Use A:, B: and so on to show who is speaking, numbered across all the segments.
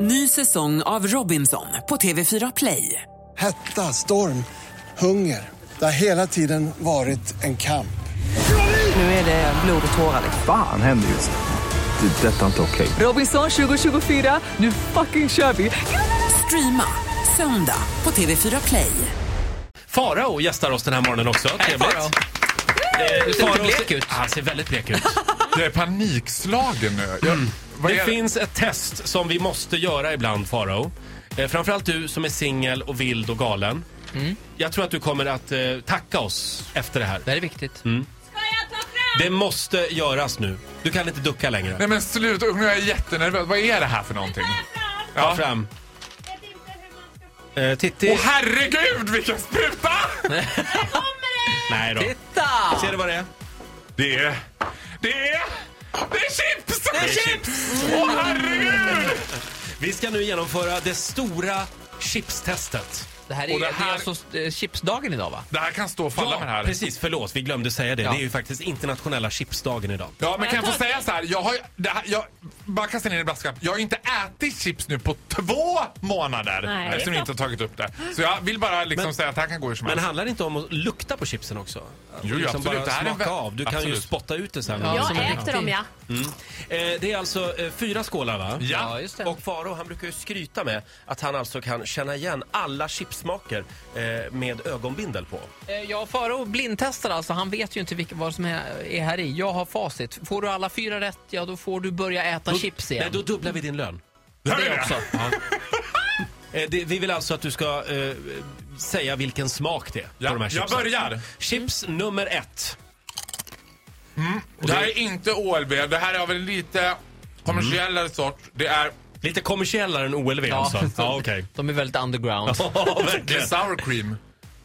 A: Ny säsong av Robinson på TV4 Play.
B: Hetta, storm, hunger. Det har hela tiden varit en kamp.
A: Nu är det blod och tårar.
C: Fan händer just nu. Det. är Detta är inte okej.
A: Robinson 2024, nu fucking kör vi! Streama söndag på TV4 Play.
D: Farao gästar oss den här morgonen också. Trevligt.
E: Farao.
D: Eh,
E: Du ser lite
D: Farao
E: blek
D: ser-
E: ut.
D: Han ser väldigt blek ut.
F: Jag är panikslagen nu. Jag, vad
D: Mm. Det
F: är
D: finns ett test som vi måste göra ibland, Farao. Eh, Framförallt du som är singel och vild och galen. Jag tror att du kommer att eh, tacka oss efter det här.
E: Mm. Det här är viktigt.
D: Det måste göras nu. Du kan inte ducka längre.
F: Nej men sluta, nu är jag jättenervös. Vad är det här för någonting?
D: Ta fram. Eh, Titti.
F: Åh herregud vilken spruta!
D: Nej då.
E: Titta!
D: Ser du vad det är?
F: Det är... Det är... Det är chips! Det
D: är chips!
F: Åh herregud!
D: Vi ska nu genomföra det stora chipstestet.
E: Det här är,
F: Och
E: det
F: det
E: är
F: här-
E: alltså eh, chipsdagen idag va?
F: Det här kan stå och falla med det här.
D: precis. Förlåt, vi glömde säga det.
E: Ja.
D: Det är ju faktiskt internationella chipsdagen idag.
F: Ja men kan jag få säga så här? Jag har ju- det här, jag, bara kasta ner i brasklapp. Jag har ju inte ätit chips nu på två månader.
G: Nej.
F: Eftersom jag inte har tagit upp det. Så jag vill bara liksom säga att det här kan gå hur som
D: Men
F: helst.
D: handlar det inte om att lukta på chipsen också? Att
F: Jo, absolut.
D: bara
F: Det här är
D: smaka
F: vä-
D: av. Du kan ju
F: absolut.
D: spotta ut det sen.
E: Ja,
D: Som
G: Jag
D: en
G: äter
D: riktig-
G: dem ja.
D: Eh, det är alltså eh, fyra skålar va?
F: Ja.
E: just det.
D: Och Faro han brukar ju skryta med att han alltså kan känna igen alla chipsmaker eh, med ögonbindel på.
E: Eh, Ja, Farao blindtestar alltså. Han vet ju inte vilka, vad som är, är här i. Jag har facit. Får du alla fyra rätt, ja då får du börja äta chips igen.
D: Nej, då dubblar vi din lön.
F: Hör
E: det
F: du
E: också.
D: Eh, det, vi vill alltså att du ska eh, säga vilken smak det är
F: Ja,
D: på de här
F: jag
D: chipsen.
F: börjar.
D: Chips nummer ett.
F: Det här är inte OLB, det här är av en lite kommersiellare sort. Det är,
D: Lite kommersiellare än OLV
E: Ja,
D: alltså. Ja, okej.
E: De är väldigt underground.
D: Ja,
F: det är
D: verkligen.
F: sour cream.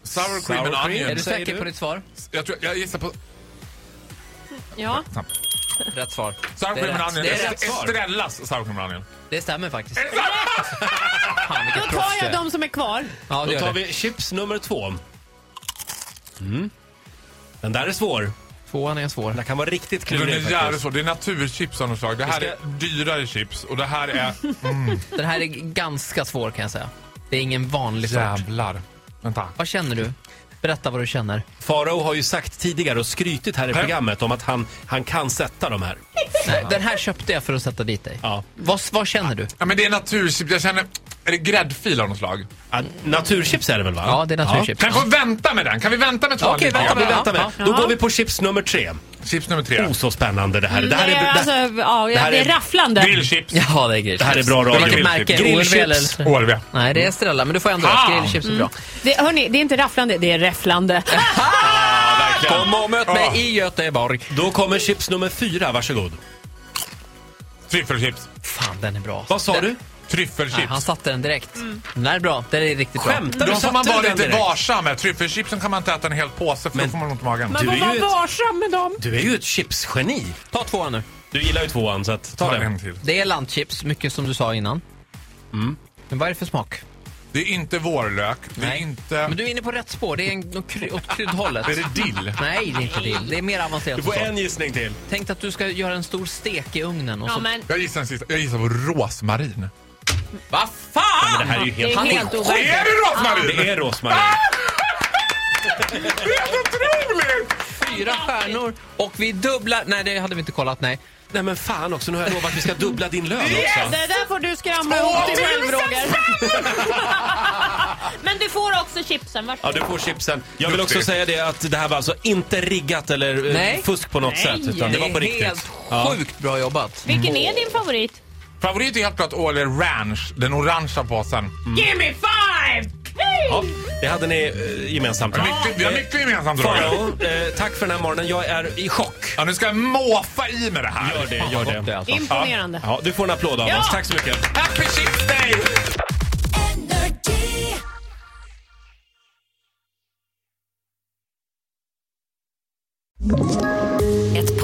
F: Sour cream
D: Sour
F: and
D: cream.
E: Är
F: onion.
E: du
D: Säger
E: säker
D: du?
E: på ditt svar?
F: Jag, tror, jag gissar på
G: ja.
E: Rätt svar.
F: sour
E: Det är
F: cream and
E: rätt.
F: onion.
E: Det är rätt svar.
F: Estrellas sour cream and onion.
E: Det stämmer faktiskt.
F: Är det sant?
E: Fan, vilket
G: Då tar
E: proffs du
G: jag
E: är.
G: de som är kvar.
E: Ja, det
D: Då
E: gör
D: tar
E: det.
D: vi chips nummer två. Mm. Den där är svår.
E: Tvåan är svår.
D: Den kan vara riktigt
F: Den
D: klurig
F: är jävligt
D: faktiskt.
F: svår. Det är naturchips av något slag. Det här
D: Vi
F: är
D: ska-
F: dyrare chips och det här är...
E: Den här är ganska svår kan jag säga. Det är ingen vanlig sort.
F: Jävlar. Vänta.
E: Vad känner du? Berätta vad du känner.
D: Farao har ju sagt tidigare och skrytit här i
F: Här.
D: programmet om att han, han kan sätta de här.
E: Nej, den här köpte jag för att sätta dit dig.
D: Ja.
E: Vad, vad känner du?
F: Ja men det är naturchips. Jag känner... Är det gräddfil av något slag?
D: Ja, naturchips är det väl va?
E: Ja, det är naturchips.
F: Kan vi få vänta med den? Kan vi vänta med tvåan
E: Okej,
F: lite
D: Ja,
F: grann?
D: vi väntar med.
E: Ja,
D: Då
G: ja.
D: går vi på chips nummer tre.
F: Chips nummer tre.
D: Oh, så spännande det här är. Det här är,
G: Nej, alltså,
D: det,
G: ja,
D: här
G: det
D: är-
G: är rafflande.
F: Grillchips.
E: Ja, det är grillchips.
D: det här är bra radio.
E: Vilket
F: Grillchips.
E: märke?
D: Grillchips.
E: OLV eller-
F: OLV.
E: Nej, det är Estrella, men du får ändå
F: Ah!
E: rätt. Grillchips är bra.
G: Det, hörni, det är inte rafflande, det är räfflande.
E: Kom och möt
F: mig
E: i Göteborg.
D: Då kommer chips nummer fyra, varsågod.
F: Tryffelchips.
E: Fan, den är bra.
D: Vad sa
E: Den-
D: du?
E: Nej, han
F: Tryffelchips.
E: satte den direkt.
G: Mm.
E: Den här är bra. Den är riktigt bra.
D: Skämtar du?
F: Då får
D: Satte
F: man
D: du
F: vara
D: den
F: lite
D: direkt?
F: varsam med. Tryffelchipsen kan man inte äta en hel påse för
D: Men-
F: då får man ont i magen.
D: Du
G: Man
D: är
G: får
D: ju
G: vara
D: ett-
G: varsam med dem.
D: Du är ju ett chipsgeni.
E: Ta tvåan nu.
D: Du gillar ju tvåan så att ta
F: Ta en
D: den.
F: till.
E: Det är landchips, mycket som du sa innan. Men vad är det för smak?
F: Det är inte vårlök. Det är
E: Nej.
F: inte...
E: Men du är inne på rätt spår. Det är en, något kry, åt kryddhållet.
F: Är det dill?
E: Nej, det är inte dill. Det är mer avancerat
D: Du
E: än
D: får
E: så.
D: en gissning till.
E: Tänk att du ska göra en stor stek i ugnen och
G: Ja,
E: så...
G: men,
F: Jag gissar en sista. Jag gissar på rosmarin.
E: Vad fan!
D: Det här är ju
G: det
D: helt...
G: är
E: Han är
G: helt
E: sjuk.
G: overkligt.
F: Är det rosmarin?
D: Det är rosmarin.
F: Det är helt otroligt!
E: Fyra stjärnor och vi dubblar... Nej, det hade vi inte kollat. Nej.
D: Nej men fan också, nu har jag lovat att vi ska dubbla din lön också.
G: Det där får du skramla ihop till själv, Roger. Men du får också chipsen,
D: Ja,
G: varsågod.
D: du får chipsen. Jag vill också
F: Duktig.
D: säga det att det här var alltså inte riggat eller eh,
E: Nej.
D: fusk på något
G: Nej.
D: sätt. Utan det var på
E: är
D: riktigt.
E: helt sjukt bra jobbat.
G: Vilken är din favorit?
F: Favorit är helt klart Åle Ranch, den orangea påsen.
G: Give me five!
D: Ja, det hade ni eh, gemensamt.
F: Vi har mycket- Vi har mycket gemensamt Roger.
D: Farao, eh, tack för den här morgonen. Jag är i chock.
F: Ja, nu ska jag måfa i med det här.
D: Gör det, gör det.
E: alltså.
G: Imponerande.
D: Ja, du får en applåd av
G: Ja.
D: oss. Tack så mycket.
F: Happy Chips Day!
H: Ett